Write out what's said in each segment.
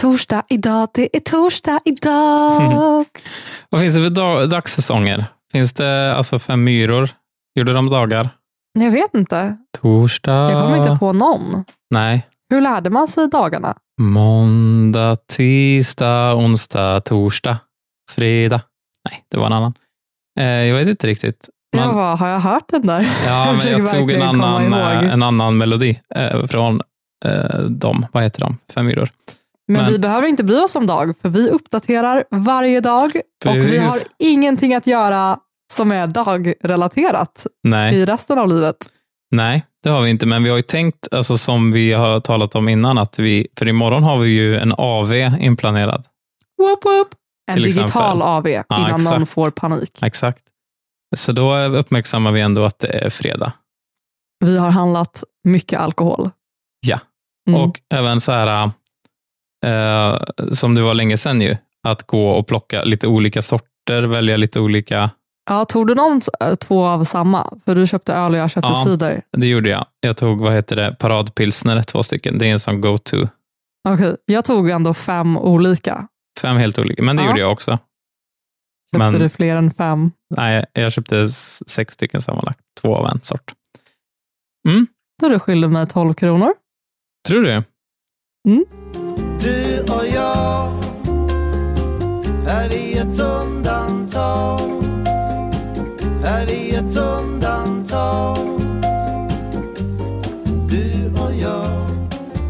torsdag idag, det är torsdag idag. Vad finns det för dag, dagssäsonger? Finns det alltså fem myror? Gjorde de dagar? Jag vet inte. Torsdag? Jag kommer inte på någon. Nej. Hur lärde man sig dagarna? Måndag, tisdag, onsdag, torsdag, fredag. Nej, det var en annan. Eh, jag vet inte riktigt. Men- Jag bara, har jag hört den där? ja, men försöker jag tog en verkligen komma annan, eh, ihåg. en annan melodi eh, från eh, dem. Vad heter de? Fem myror. Men, Men- vi behöver inte bry oss om dag, för vi uppdaterar varje dag och vi Precis. har ingenting att göra som är dagrelaterat Nej. i resten av livet. Nej, det har vi inte, men vi har ju tänkt, alltså, som vi har talat om innan, att vi, för imorgon har vi ju en AV inplanerad. Whoop, whoop. En Till digital exempel. AV innan någon exakt. får panik. Exakt. Så då uppmärksammar vi ändå att det är fredag. Vi har handlat mycket alkohol. Ja. Mm. Och även så här, eh, som det var länge sedan ju, att gå och plocka lite olika sorter, välja lite olika. Ja, tog du någon eh, två av samma? För du köpte öl och jag köpte Ja. cider. Det gjorde jag. Jag tog, vad heter det, paradpilsner, två stycken. Det är en sån go-to. Okej, jag tog ändå fem olika. Fem helt olika, men det Ja. gjorde jag också. Köpte Men- du fler än fem? Nej, jag köpte s- sex stycken sammanlagt, två av en sort. Mm, Så du skyller mig 12 kronor. tror du? Du och jag Är vi ett undantag? Är vi ett undantag? Du och jag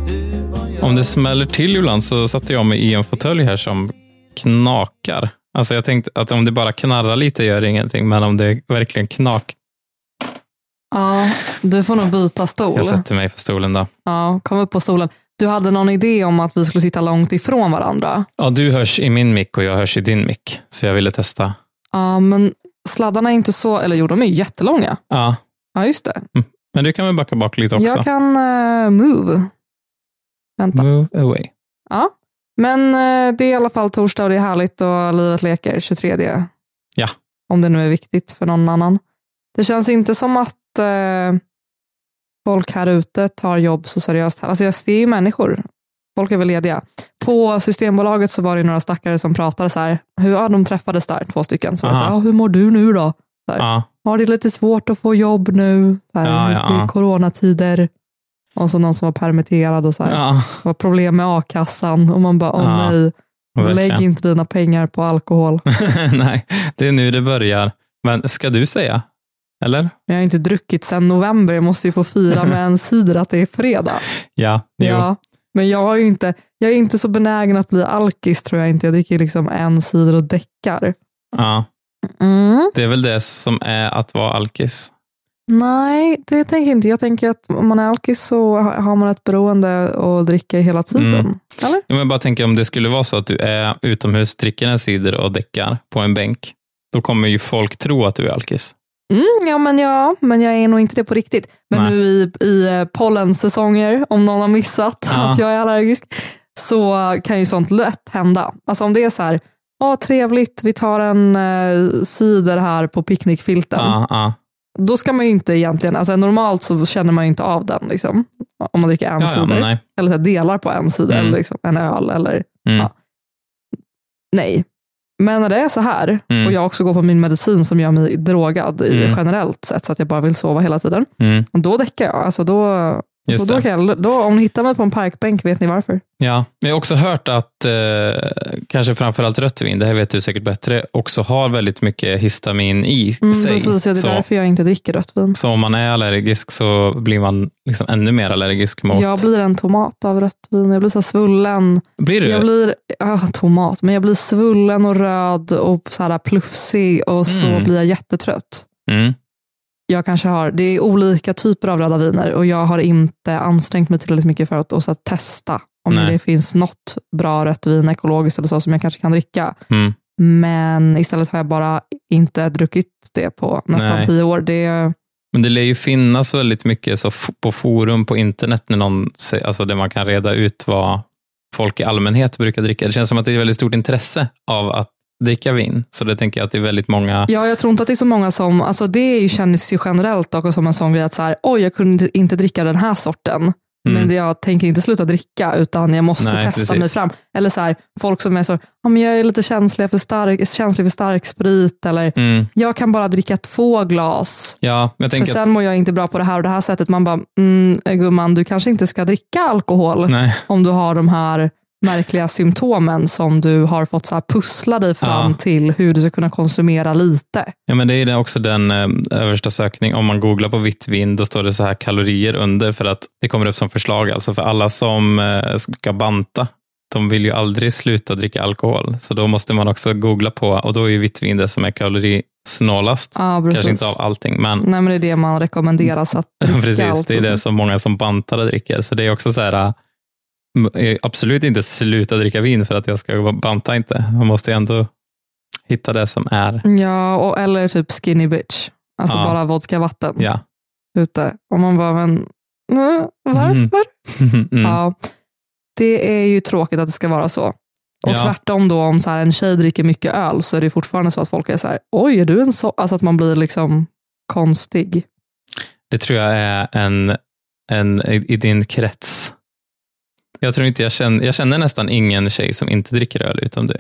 Du och jag Om det smäller till ibland så satte jag mig i en fåtölj här som knakar. Alltså jag tänkte att om det bara knarrar lite gör det ingenting, men om det är verkligen knak. Ja, du får nog byta stol. Jag sätter mig på stolen då. Ja, kom upp på stolen. Du hade någon idé om att vi skulle sitta långt ifrån varandra. Ja, du hörs i min mick och jag hörs i din mick, så jag ville testa. Ja, men sladdarna är inte så... Eller jo, de är ju jättelånga. Ja, Ja, just det. men du kan väl backa bak lite också? Jag kan eh, move. Vänta. Move away. Ja. Men eh, det är i alla fall torsdag och det är härligt och livet leker 23. Ja. Om det nu är viktigt för någon annan. Det känns inte som att eh, folk här ute tar jobb så seriöst. Alltså jag ser ju människor. Folk är väl lediga. På Systembolaget så var det ju några stackare som pratade så här. Hur, ja, de träffades där, två stycken. Så var det så här, Aha. "Ja, hur mår du nu då? Ja, Ja, det är lite svårt att få jobb nu. Så här, Ja, ja, I ja. coronatider. Och så någon som var permitterad och så här. ja Det var problem med a-kassan och man bara, åh Ja, nej, lägg verkligen. inte dina pengar på alkohol. Nej, det är nu det börjar. Men ska du säga? Eller? Men jag har inte druckit sedan november, jag måste ju få fira med en cider att det är fredag. Ja, jo. Ja, men jag, har ju inte, jag är inte så benägen att bli alkis tror jag inte. Jag dricker liksom en cider och däckar. ja. Mm. Det är väl det som är att vara alkis. Nej, det tänker jag inte. Jag tänker att om man är alkis så ha- har man ett beroende och dricker hela tiden. Mm. Eller? Jo, men Jag bara tänker om det skulle vara så att du är utomhus, dricker en cider och däckar på en bänk. Då kommer ju folk tro att du är alkis. Mm, ja, men ja, men jag är nog inte det på riktigt. Men Nej. nu i, i eh, pollensäsonger, om någon har missat Ja. att jag är allergisk, så kan ju sånt lätt hända. Alltså om det är så här, "Åh, trevligt, vi tar en eh, cider här på picknickfilten. Ja, ja. Då ska man ju inte egentligen, alltså normalt så känner man ju inte av den. Liksom, om man dricker en Ja, ja, cider, nej. eller så här, delar på en cider, Mm. eller liksom, en öl. Eller, Mm. Ja. nej. Men när det är så här, Mm. och jag också går på min medicin som gör mig drogad i Mm. generellt sett, så att jag bara vill sova hela tiden, Mm. då däckar jag. Alltså då, så Just då det. kan jag, då, om ni hittar mig på en parkbänk vet ni varför. Ja. Jag har också hört att eh, kanske framförallt rött vin, det här vet du säkert bättre, också har väldigt mycket histamin i sig. Mm, precis, ja, det är så, därför jag inte dricker rött vin. så om man är allergisk så blir man liksom ännu mer allergisk mot... Jag blir en tomat av rött vin. Jag blir så här svullen. Blir du? Jag blir, ah, tomat, men jag blir svullen och röd och så här plufsig och så Mm. blir jag jättetrött. Mm. Jag kanske har, det är olika typer av röda viner och jag har inte ansträngt mig tillräckligt mycket för att, och så att testa om Nej. det finns något bra rött vin, ekologiskt eller så, som jag kanske kan dricka. Mm. Men istället har jag bara inte druckit det på nästan Nej. tio år. Det, Men det lär ju finnas väldigt mycket så f- på forum på internet när någon, säger- alltså där man kan reda ut vad folk i allmänhet brukar dricka. Det känns som att det är ett väldigt stort intresse av att dricka vin. Så det tänker jag att det är väldigt många... ja, jag tror inte att det är så många som, alltså det är ju, känns ju generellt dock som en sån grej att så här, oj jag kunde inte dricka den här sorten. Mm. Men jag tänker inte sluta dricka utan jag måste Nej, testa precis. mig fram. Eller så här, folk som är så, ja, men jag är lite känslig för stark, känslig för stark sprit eller Mm. jag kan bara dricka två glas. Ja, jag För tänker att, sen mår jag inte bra på det här och det här sättet. Man bara, mm, gumman, du kanske inte ska dricka alkohol nej, om du har de här märkliga symptomen som du har fått så här pussla dig fram Ja. till hur du ska kunna konsumera lite. ja, men det är det också den eh, översta sökning. Om man googlar på vitt vin, då står det så här kalorier under för att det kommer upp som förslag. Alltså för alla som eh, ska banta, de vill ju aldrig sluta dricka alkohol. Så då måste man också googla på, och då är ju vitt vin det som är kalorisnålast. Ja, precis. Mm, Kanske inte av allting, men Nej, men det är det man rekommenderas att dricka. Precis, det är allt. det som många som bantare dricker. Så det är också så här, äh, m- eh, absolut inte sluta dricka vin för att jag ska banta inte. Man måste ju ändå hitta det som Mm. är, Ja, och, eller typ skinny bitch. Alltså Ja. bara vodkavatten ja. ute. Och man bara, men nej, varför? Mm. Mm. Ja, det är ju tråkigt att det ska vara så. Och Ja. tvärtom då, om så här en tjej dricker mycket öl så är det fortfarande så att folk är så här, oj, är du en så... Alltså att man blir liksom konstig. Det tror jag är en, en i i din krets. Jag tror inte jag känner, jag känner nästan ingen tjej som inte dricker öl utom du.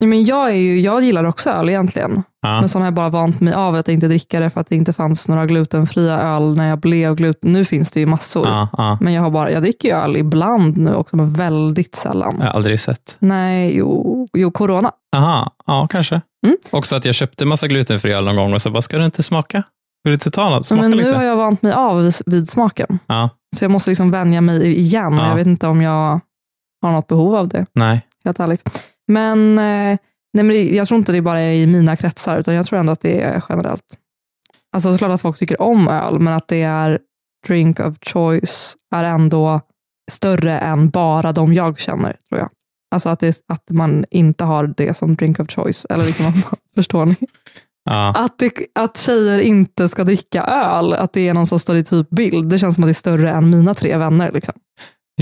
Nej, Men jag, är ju, jag gillar också öl egentligen, Ja. men sån har jag bara vant mig av att inte dricka det för att det inte fanns några glutenfria öl när jag blev gluten. Nu finns det ju massor, Ja, ja. men jag, har bara, jag dricker ju öl ibland nu också, men väldigt sällan. Jag har aldrig sett. Nej, jo, jo, corona. Aha, ja kanske. Mm. Också att jag köpte massa glutenfri öl någon gång och så bara, ska du inte smaka? Vill du inte ta något? Smaka men nu lite. har jag vant mig av vid, vid smaken. Ja, Så jag måste liksom vänja mig igen. Ja. Jag vet inte om jag har något behov av det, nej. helt ärligt. Men, eh, nej, men det- jag tror inte det bara är i mina kretsar, utan jag tror ändå att det är generellt. Alltså såklart att folk tycker om öl, men att det är drink of choice är ändå större än bara de jag känner, tror jag. Alltså att, det, att man inte har det som drink of choice. Eller liksom, att man- förstår ni? Ja. att, det, att tjejer inte ska dricka öl, att det är någon sorts stereotypbild, typ det känns som att det är större än mina tre vänner. Liksom.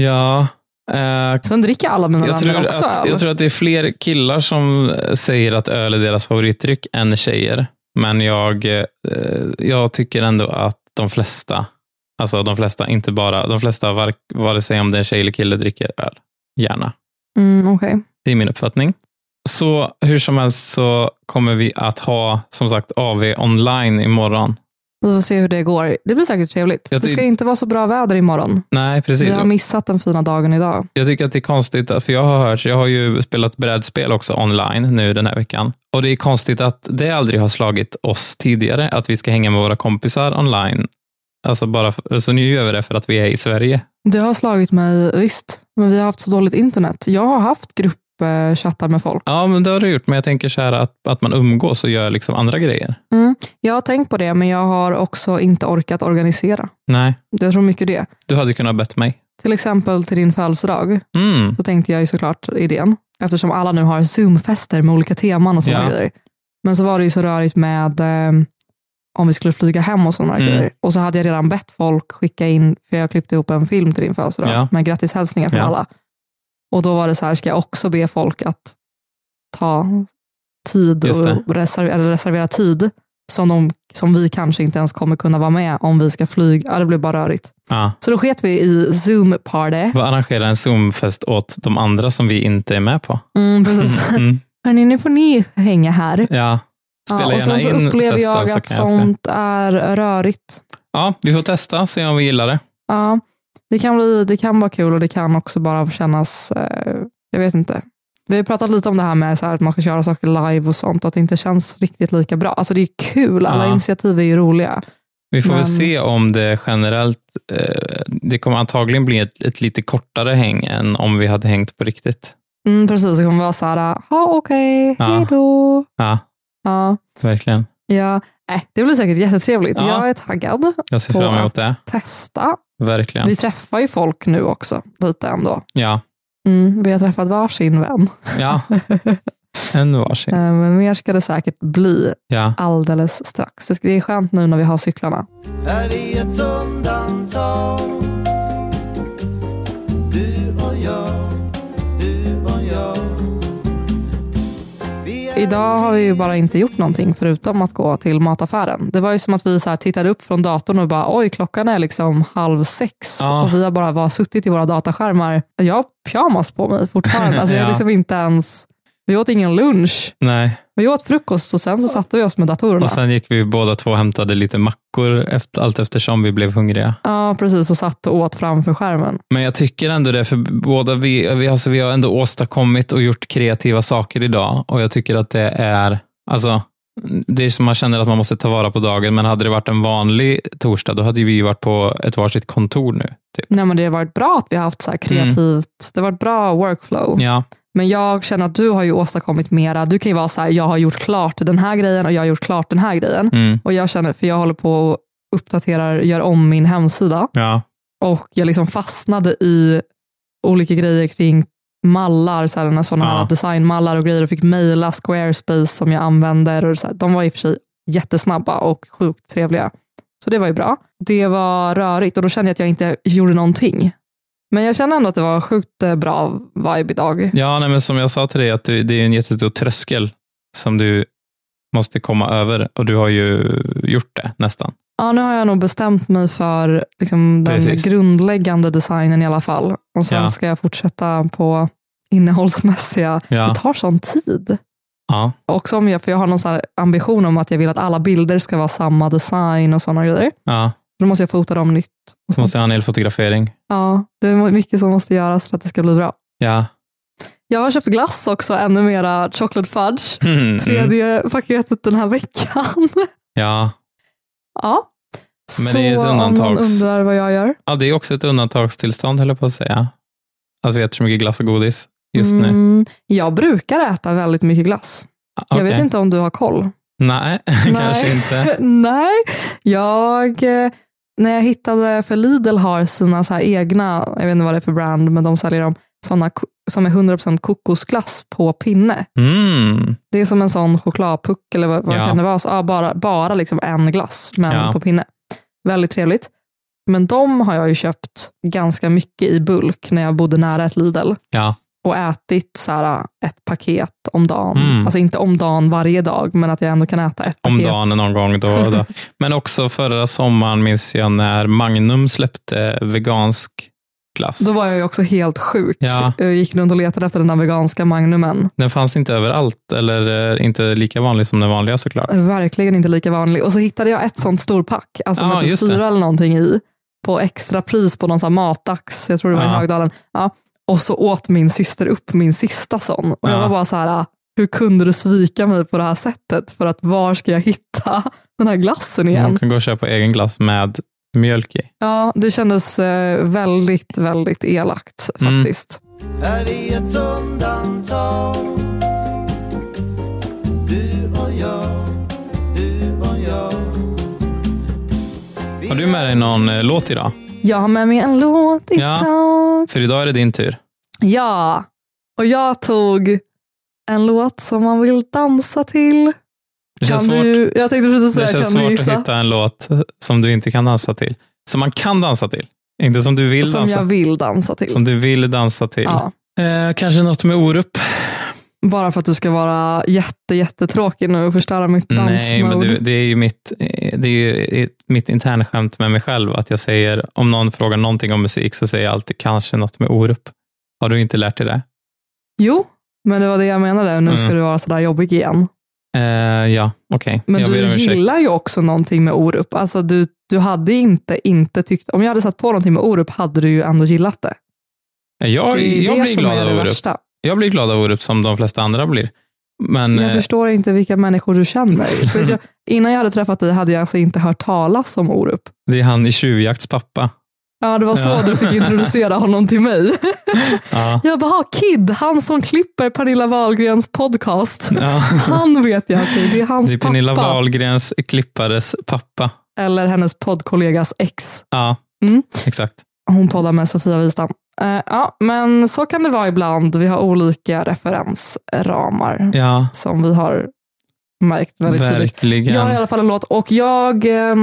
Ja. eh, Sen dricker alla mina jag, vänner tror också att, öl. jag tror att det är fler killar som eh, säger att öl är deras favoritdryck än tjejer. Men jag, eh, jag tycker ändå att de flesta, alltså de flesta, inte bara, de flesta, var, vare sig om det är en tjej eller kille, dricker öl. Gärna. Mm, okej. Det är min uppfattning. Så hur som helst så kommer vi att ha, som sagt, AV online imorgon. Vi får se hur det går. Det blir säkert trevligt. Jag Det ska ty- inte vara så bra väder imorgon. Nej, precis. Vi har missat den fina dagen idag. Jag tycker att det är konstigt, att- för jag har hört, jag har ju spelat brädspel också online nu den här veckan. Och det är konstigt att det aldrig har slagit oss tidigare, att vi ska hänga med våra kompisar online. Alltså bara för, så nu gör vi det för att vi är i Sverige. Det har slagit mig, visst, men vi har haft så dåligt internet. Jag har haft gruppchattar med folk. Ja, men det har du gjort, men jag tänker så här att, att man umgås och gör liksom andra grejer. Jag har tänkt på det, men jag har också inte orkat organisera. Nej, Jag tror mycket det. du hade kunnat bett mig. Till exempel till din födelsedag. Mm, så tänkte jag ju såklart idén, eftersom alla nu har Zoom-fester med olika teman och sådana Ja. grejer. Men så var det ju så rörigt med eh, om vi skulle flyga hem och sådana Mm. grejer. Och så hade jag redan bett folk skicka in, för jag klippte ihop en film till din födelsedag, Ja. med grattishälsningar från Ja. alla. Och då var det så här, ska jag också be folk att ta tid Just det. och reservera, eller reservera tid som, de, som vi kanske inte ens kommer kunna vara med om vi ska flyga. Ja, det blev bara rörigt. ja. Så då sket vi i Zoom-party. Vad arrangerar en Zoom-fest åt de andra som vi inte är med på? Mm, precis. Mm, mm, Hörni, nu får ni hänga här. ja. Spela Ja, och gärna sen så in upplever festen, jag så att kan jag säga. sånt är rörigt. Ja, vi får testa, se om vi gillar det. Ja, det, kan bli, det kan vara kul och det kan också bara kännas, eh, jag vet inte. Vi har ju pratat lite om det här med så här att man ska köra saker live och sånt och att det inte känns riktigt lika bra. Alltså det är ju kul, alla Ja. initiativ är ju roliga. Vi får Men- väl se om det generellt, eh, det kommer antagligen bli ett, ett lite kortare häng än om vi hade hängt på riktigt. Mm, precis, det kommer vara så här, ja okej, Ja. hej då. Ja, Ja, verkligen. ja. Äh, det blir säkert jättetrevligt. Ja. Jag är taggad. Jag ser På fram att- emot det. Testa. Verkligen. Vi träffar ju folk nu också, lite ändå. Ja, Mm, vi har träffat varsin vän. ja. en varsin. Eh, Men mer ska det säkert bli Ja. alldeles strax. Det ska- Det är skönt nu när vi har cyklarna. är vi ett undantag Du och jag, du och jag Vi idag har vi ju bara inte gjort någonting förutom att gå till mataffären. Det var ju som att vi så här tittade upp från datorn och bara oj, klockan är liksom halv sex Ja. och vi har bara var suttit i våra dataskärmar. Jag har pyjamas på mig fortfarande. Alltså, jag är Ja. liksom inte ens, vi åt ingen lunch. Nej. Vi åt frukost och sen så satte vi oss med datorerna. Och sen gick vi båda två och hämtade lite mackor efter, allt eftersom vi blev hungriga. Ja, precis. Och satt och åt framför skärmen. Men jag tycker ändå det, för båda vi, vi, alltså vi har ändå åstadkommit och gjort kreativa saker idag och jag tycker att det är, alltså, det är som man känner att man måste ta vara på dagen, men hade det varit en vanlig torsdag, då hade ju vi ju varit på ett varsitt kontor nu. Typ. Nej, men det har varit bra att vi har haft så här kreativt, det har varit bra workflow. Ja, Men jag känner att du har ju åstadkommit mera. Du kan ju vara så här, jag har gjort klart den här grejen och jag har gjort klart den här grejen. mm, Och jag känner, för jag håller på och uppdaterar, gör om min hemsida. ja, Och jag liksom fastnade i olika grejer kring mallar, så här, sådana här Ja. designmallar och grejer och fick mejla Squarespace som jag använder. Och så här. De var i och för sig jättesnabba och sjukt trevliga. Så det var ju bra. Det var rörigt och då kände jag att jag inte gjorde någonting. Men jag kände ändå att det var sjukt eh, bra vibe idag. ja nej, men som jag sa till dig, att det det är en jättestor tröskel som du måste komma över och du har ju gjort det nästan. Ja, nu har jag nog bestämt mig för liksom, den Precis. grundläggande designen i alla fall. Och sen Ja. ska jag fortsätta på innehållsmässiga. Det Ja, tar sån tid. ja, Och som jag, för jag har någon sån här ambition om att jag vill att alla bilder ska vara samma design och sådana grejer. ja. Då måste jag fota dem nytt. Och Så sånt. måste jag ha en elfotografering. Ja, det är mycket som måste göras för att det ska bli bra. Ja. Jag har köpt glass också, ännu mera chocolate fudge. Mm, mm, Tredje paketet den här veckan. ja. Ja. Men det är ett Så om någon undantags- undrar vad jag gör. Ja, det är också ett undantagstillstånd, höll jag på att säga. Att vi äter så mycket glass och godis just nu. Mm, jag brukar äta väldigt mycket glass. Ah, Okej. Jag vet inte om du har koll. Nej, kanske inte. Nej, jag... eh, När jag hittade, för Lidl har sina så här egna, jag vet inte vad det är för brand, men de säljer dem sådana ko- som är 100% kokosglass på pinne. Mm. Det är som en sån chokladpuck eller vad, vad Ja. kan det vara? Så, ja, bara bara liksom en glass, men Ja. på pinne. Väldigt trevligt. Men de har jag ju köpt ganska mycket i bulk när jag bodde nära ett Lidl. Ja, och ätit så här, ett paket om dagen. Mm. Alltså inte om dagen varje dag, men att jag ändå kan äta ett om paket. dagen någon gång då och då. Men också förra sommaren minns jag när Magnum släppte vegansk glass. Då var jag ju också helt sjuk. Ja. Jag gick runt och letade efter den här veganska magnumen. Den fanns inte överallt, eller eh, inte lika vanlig som den vanliga såklart. Verkligen inte lika vanlig. Och så hittade jag ett sånt storpack, alltså Ja, med typ just det. fyra eller någonting i, på extra pris på någon sån här matax, jag tror det var Ja. i Högdalen. Ja. Och så åt min syster upp min sista sån. Och jag Ja. var bara så här, "Ah, hur kunde du svika mig på det här sättet? För att var ska jag hitta den här glassen igen? Man kan gå och köpa egen glass med mjölk i. Ja, det kändes eh, väldigt, väldigt elakt Mm. faktiskt. Är vi ett undantag? Du och jag, du och jag Vi Har du med dig någon eh, låt idag? Jag har med mig en låt Ja. idag. För idag är det din tur. Ja, och jag tog en låt som man vill dansa till. Det känns kan svårt. du, jag tänkte precis Det säga, kan känns du svårt att gissa? hitta en låt som du inte kan dansa till. Som man kan dansa till. Inte som du vill Som dansa jag vill dansa till. Som du vill dansa till. Ja, Eh, kanske något med Orup. bara för att du ska vara jätte, jättetråkig nu och förstöra mitt Nej, men dansmode. du, det är ju mitt, eh, det är ju eh, mitt internskämt med mig själv. Att jag säger, om någon frågar någonting om musik så säger jag alltid kanske något med Orup. Har du inte lärt dig det? Jo, men det var det jag menade. Nu ska Mm. du vara sådär jobbig igen. Eh, ja, okej. Men Jag ber om du ursäkt. gillar ju också någonting med Orup. Alltså du, du hade inte inte tyckt, om jag hade satt på någonting med Orup hade du ju ändå gillat det. Eh, Jag, det är jag det blir som glad är det av Orup. värsta. Jag blir glad av Orup som de flesta andra blir. Men Jag eh, förstår inte vilka människor du känner. För jag, innan jag hade träffat dig hade jag alltså inte hört talas om Orup. det är han i Tjuvjakts pappa. Ja, det var så Ja. du fick introducera honom till mig. Ja. Jag bara, "Ha, Kid, han som klipper Pernilla Wahlgrens podcast. Ja. Han vet jag, okej, det är hans Det är Pernilla pappa. Wahlgrens klippares pappa. Eller hennes poddkollegas ex. Ja, Mm. exakt. Hon poddar med Sofia Wistam. Eh, ja, men så kan det vara ibland. Vi har olika referensramar Ja, som vi har märkt väldigt tydligt. verkligen. Jag har i alla fall en låt och jag, eh,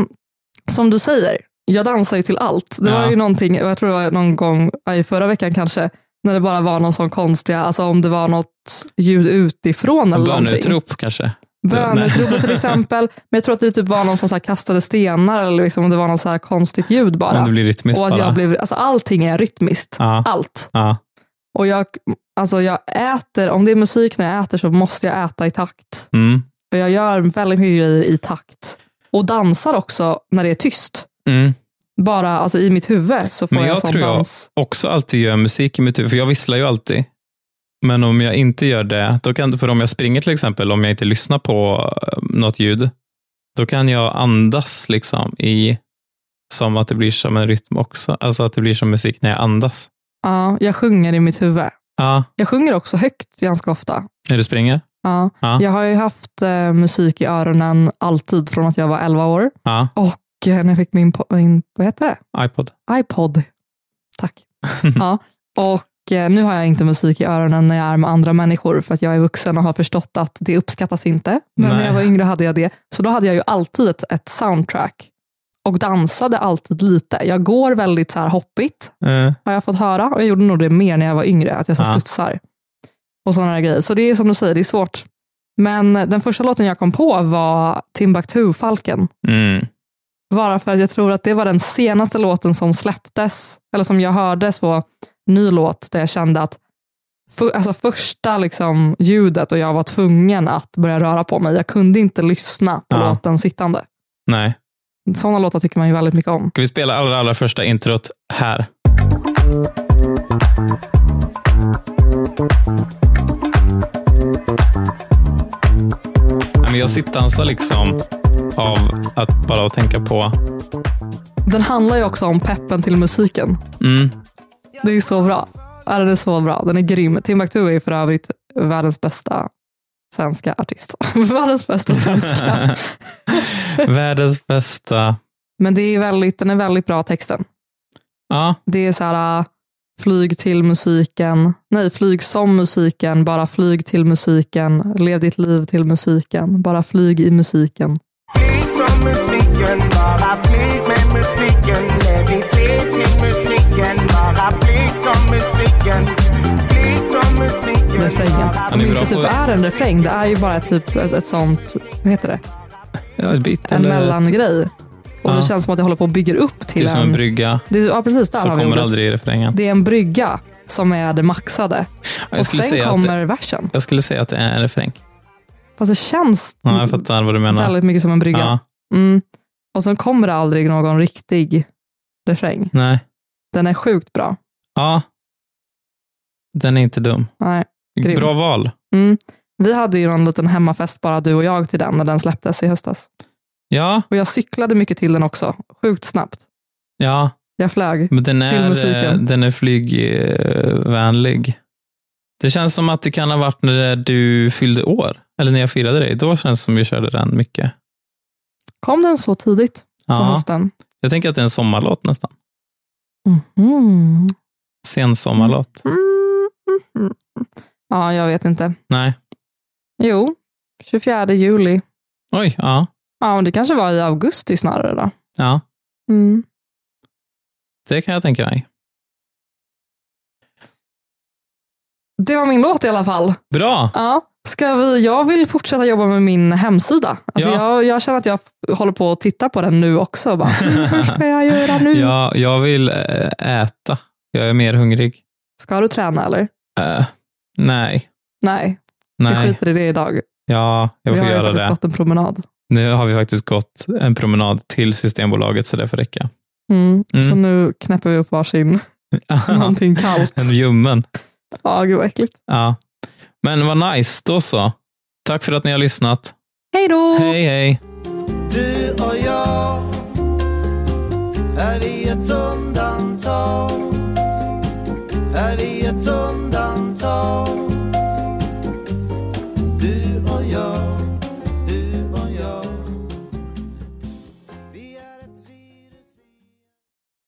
som du säger, jag dansar ju till allt. Det var Ja. ju någonting, jag tror det var någon gång ja, i förra veckan kanske, När det bara var någon sån konstiga, alltså om det var något ljud utifrån eller någonting. Bönutrop kanske? Bönutrop till exempel. Men jag tror att det typ var någon som så här kastade stenar eller liksom, om det var något så här konstigt ljud Om bara. det blir rytmiskt Och att bara. jag blev, alltså allting är rytmiskt. Ja, Allt. ja. Och jag, alltså jag äter, om det är musik när jag äter så måste jag äta i takt. Mm. För jag gör väldigt mycket grejer i takt. Och dansar också när det är tyst. Mm. Bara alltså, i mitt huvud så får Men jag, jag sån tror jag- dans. Också alltid gör musik i mitt huvud, för jag visslar ju alltid. Men om jag inte gör det, då kan, för om jag springer till exempel, om jag inte lyssnar på eh, något ljud, då kan jag andas liksom i som att det blir som en rytm också. Alltså att det blir som musik när jag andas. Ja, jag sjunger i mitt huvud. Ja, Jag sjunger också högt ganska ofta. när du springer. Ja. Ja. Jag har ju haft eh, musik i öronen alltid från att jag var 11 år. Ja, Och eh, när jag fick min, po- min vad heter det? iPod. iPod. Tack. ja. Och eh, nu har jag inte musik i öronen när jag är med andra människor för att jag är vuxen och har förstått att det uppskattas inte. Men när Nej. jag var yngre hade jag det. Så då hade jag ju alltid ett, ett soundtrack och dansade alltid lite. Jag går väldigt så här hoppigt Eh, har jag fått höra och jag gjorde nog det mer när jag var yngre, att jag så Ja. studsar och sådana där grejer. Så det är som du säger, det är svårt. Men den första låten jag kom på var Timbuktu, Falken. mm. Bara för att jag tror att det var den senaste låten som släpptes, eller som jag hörde så ny låt, där jag kände att för, alltså första liksom ljudet och jag var tvungen att börja röra på mig. Jag kunde inte lyssna på Ja. låten sittande. Nej. Sådana låtar tycker man ju väldigt mycket om. Ska vi spela allra, allra första introt här? Nej, men jag sittdansar liksom av att bara att tänka på. Den handlar ju också om peppen till musiken. Mm, Det är så bra. Ja, den är så bra. Den är grym. Timbuktu är ju för övrigt världens bästa svenska artist. världens bästa svenska. världens bästa. Men det är väldigt, den är väldigt bra texten. Ja, Det är så här, äh, flyg till musiken, nej flyg som musiken, bara flyg till musiken, lev ditt liv till musiken, bara flyg i musiken. Flyg som musiken, bara flyg med musiken. Lev ditt liv till musiken, bara flyg som musiken. Flyg som musiken, Refrängen, som är bra inte på- typ är en refräng, det är ju bara typ ett, ett sånt, vad heter det, ja, ett bit. en eller- mellangrej. Och Ja. det känns som att jag håller på och bygger upp Det till är som en en... brygga, Det är, ja, precis, där så har vi kommer ordet. aldrig i refrängen. Det är en brygga som är det maxade. Jag Och skulle, sen säga kommer att, versen. jag skulle säga att det är en refräng. Fast det känns Ja, jag fattar vad du menar. Mm. väldigt mycket som en brygga. Ja, Mm. Och sen kommer det aldrig någon riktig refräng. nej. Den är sjukt bra. Ja. Den är inte dum. Nej. Grym. Bra val. Mm. Vi hade ju någon liten hemmafest bara du och jag till den när den släpptes i höstas. Ja, Och jag cyklade mycket till den också. Sjukt snabbt. ja. Jag flög. Men den Till är, musiken. eh, den är flygvänlig. Det känns som att det kan ha varit när du fyllde år, eller när jag firade dig. Då känns det som vi körde den mycket. Kom den så tidigt på Ja, hösten? jag tänker att det är en sommarlåt nästan. Mhm. Sensommarlåt. Mm, mm, mm. Ja, jag vet inte. Nej. Jo, 24 juli. Oj, ja. Ja, men det kanske var i augusti snarare då. ja. Mm. Det kan jag tänka mig. Det var min låt i alla fall. Bra! Ja. Ska vi, jag vill fortsätta jobba med min hemsida. Alltså Ja. jag, jag känner att jag f- håller på att titta på den nu också. Bara, "Mm, hur ska jag göra nu? Jag, jag vill eh, äta. Jag är mer hungrig. Ska du träna eller? Eh, nej. Nej, vi Nej. skiter i det idag. Ja, jag vi får har ju göra faktiskt det. gått en promenad. Nu har vi faktiskt gått en promenad till Systembolaget, så det får räcka. Mm. Mm. Så nu knäpper vi upp varsin någonting kallt. en ljummen. Ja, gud vad äckligt. Ja. Men vad nice, då så. Tack för att ni har lyssnat. Hej då! Hej, hej. Du och jag Är vi ett undantag? Är vi ett undantag?